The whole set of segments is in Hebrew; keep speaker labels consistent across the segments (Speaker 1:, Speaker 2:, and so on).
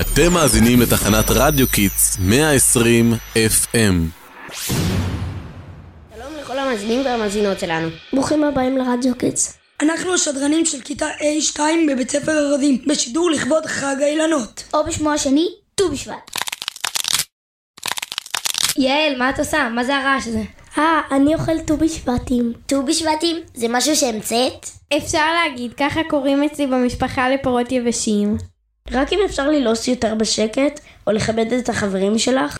Speaker 1: אתם מאזינים לתחנת רדיו קיטס 120 FM.
Speaker 2: שלום לכל המאזינים והמאזינות שלנו.
Speaker 3: ברוכים הבאים לרדיו קיטס.
Speaker 4: אנחנו השדרנים של כיתה A2 בבית ספר ארזים, בשידור לכבוד חג האילנות.
Speaker 5: או בשמו השני, ט"ו בשבט.
Speaker 6: יעל, מה את עושה? מה זה הרעש הזה?
Speaker 3: אה, אני אוכל ט"ו בשבטים.
Speaker 5: ט"ו בשבטים? זה משהו שהמצאת?
Speaker 6: אפשר להגיד, ככה קוראים אצלי במשפחה לפירות יבשים.
Speaker 3: רק אם אפשר ללעוס יותר בשקט, או לכבד את החברים שלך.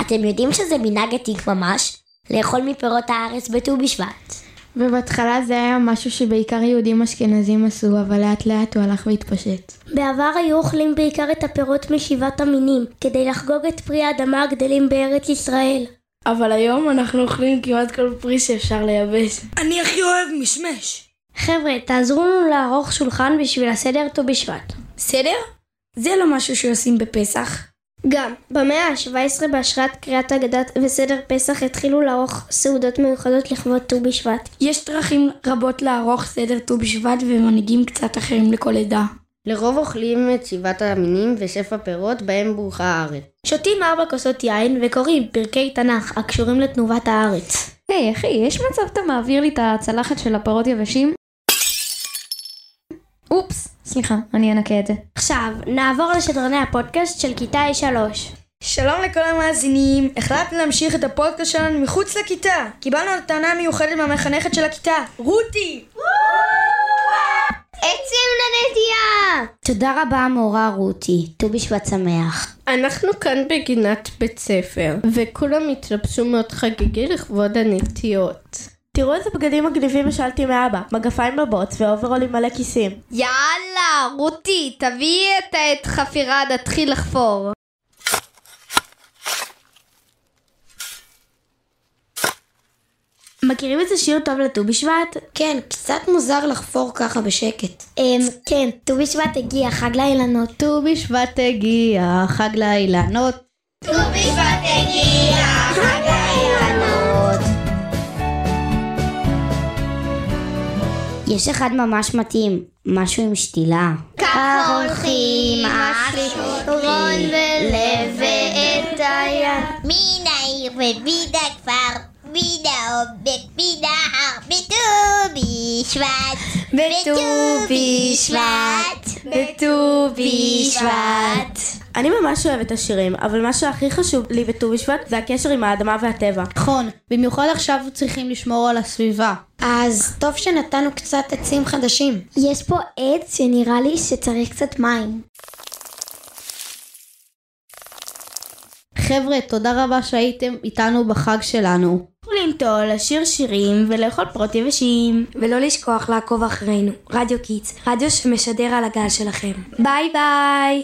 Speaker 5: אתם יודעים שזה מנהג עתיק ממש? לאכול מפירות הארץ בט"ו בשבט.
Speaker 6: ובהתחלה זה היה משהו שבעיקר יהודים אשכנזים עשו, אבל לאט לאט הוא הלך והתפשט.
Speaker 3: בעבר היו אוכלים בעיקר את הפירות משבעת המינים, כדי לחגוג את פרי האדמה הגדלים בארץ ישראל.
Speaker 7: אבל היום אנחנו אוכלים כמעט כל פרי שאפשר לייבש.
Speaker 4: אני הכי אוהב משמש.
Speaker 3: חבר'ה, תעזרו לנו לערוך שולחן בשביל הסדר ט"ו בשבט.
Speaker 7: סדר? זה לא משהו שעושים בפסח.
Speaker 3: גם, במאה ה-17 בהשראת קריאת אגדת וסדר פסח התחילו לערוך סעודות מיוחדות לכבוד ט"ו בשבט.
Speaker 7: יש דרכים רבות לערוך סדר ט"ו בשבט ומנהיגים קצת אחרים לכל עדה.
Speaker 2: לרוב אוכלים את שבעת המינים ושפע פירות בהם ברוכה הארץ.
Speaker 3: שותים ארבע כוסות יין וקוראים פרקי תנ"ך הקשורים לתנובת הארץ.
Speaker 6: היי hey, אחי, יש מצב אתה מעביר לי את הצלחת של הפירות יבשים? אופס, סליחה, אני אנקה את זה.
Speaker 3: עכשיו, נעבור לשדרני הפודקאסט של כיתה A3.
Speaker 4: שלום לכל המאזינים, החלטנו להמשיך את הפודקאסט שלנו מחוץ לכיתה. קיבלנו הטענה מיוחדת מהמחנכת של הכיתה, רותי!
Speaker 5: עצים לנטייה!
Speaker 2: תודה רבה מורה רותי, ט"ו בשבט שמח.
Speaker 8: אנחנו כאן בגינת בית ספר, וכולם התלבשו מאוד חגיגי לכבוד הנטיות.
Speaker 9: תראו איזה בגדים מגניבים השאלתי מאבא, מגפיים בבוץ ואוברולים מלא כיסים.
Speaker 10: יאללה, רותי, תביאי את העת חפירה, נתחיל לחפור.
Speaker 3: מכירים איזה שיר טוב לט"ו בשבט?
Speaker 2: כן, קצת מוזר לחפור ככה בשקט.
Speaker 3: אמ, כן, ט"ו בשבט הגיע, חג לאילנות.
Speaker 11: ט"ו בשבט הגיע, חג לאילנות.
Speaker 12: ט"ו בשבט הגיע, חג לאילנות.
Speaker 2: יש אחד ממש מתאים, משהו עם שתילה.
Speaker 12: כך הולכים, אשרון ולב ואת היד.
Speaker 5: מן העיר וביד הכפר. בידה עובד בידה בט"ו בשבט.
Speaker 12: בט"ו בשבט. בט"ו בשבט.
Speaker 9: אני ממש אוהבת השירים, אבל מה שהכי חשוב לי בט"ו בשבט זה הקשר עם האדמה והטבע.
Speaker 11: נכון, במיוחד עכשיו צריכים לשמור על הסביבה.
Speaker 2: אז טוב שנתנו קצת עצים חדשים.
Speaker 3: יש פה עץ שנראה לי שצריך קצת מים.
Speaker 11: חבר'ה, תודה רבה שהייתם איתנו בחג שלנו.
Speaker 6: לנטול, לשיר שירים ולאכול פרות יבשים.
Speaker 4: ולא לשכוח לעקוב אחרינו, רדיו קיטס, רדיו שמשדר על הגל שלכם.
Speaker 6: ביי ביי!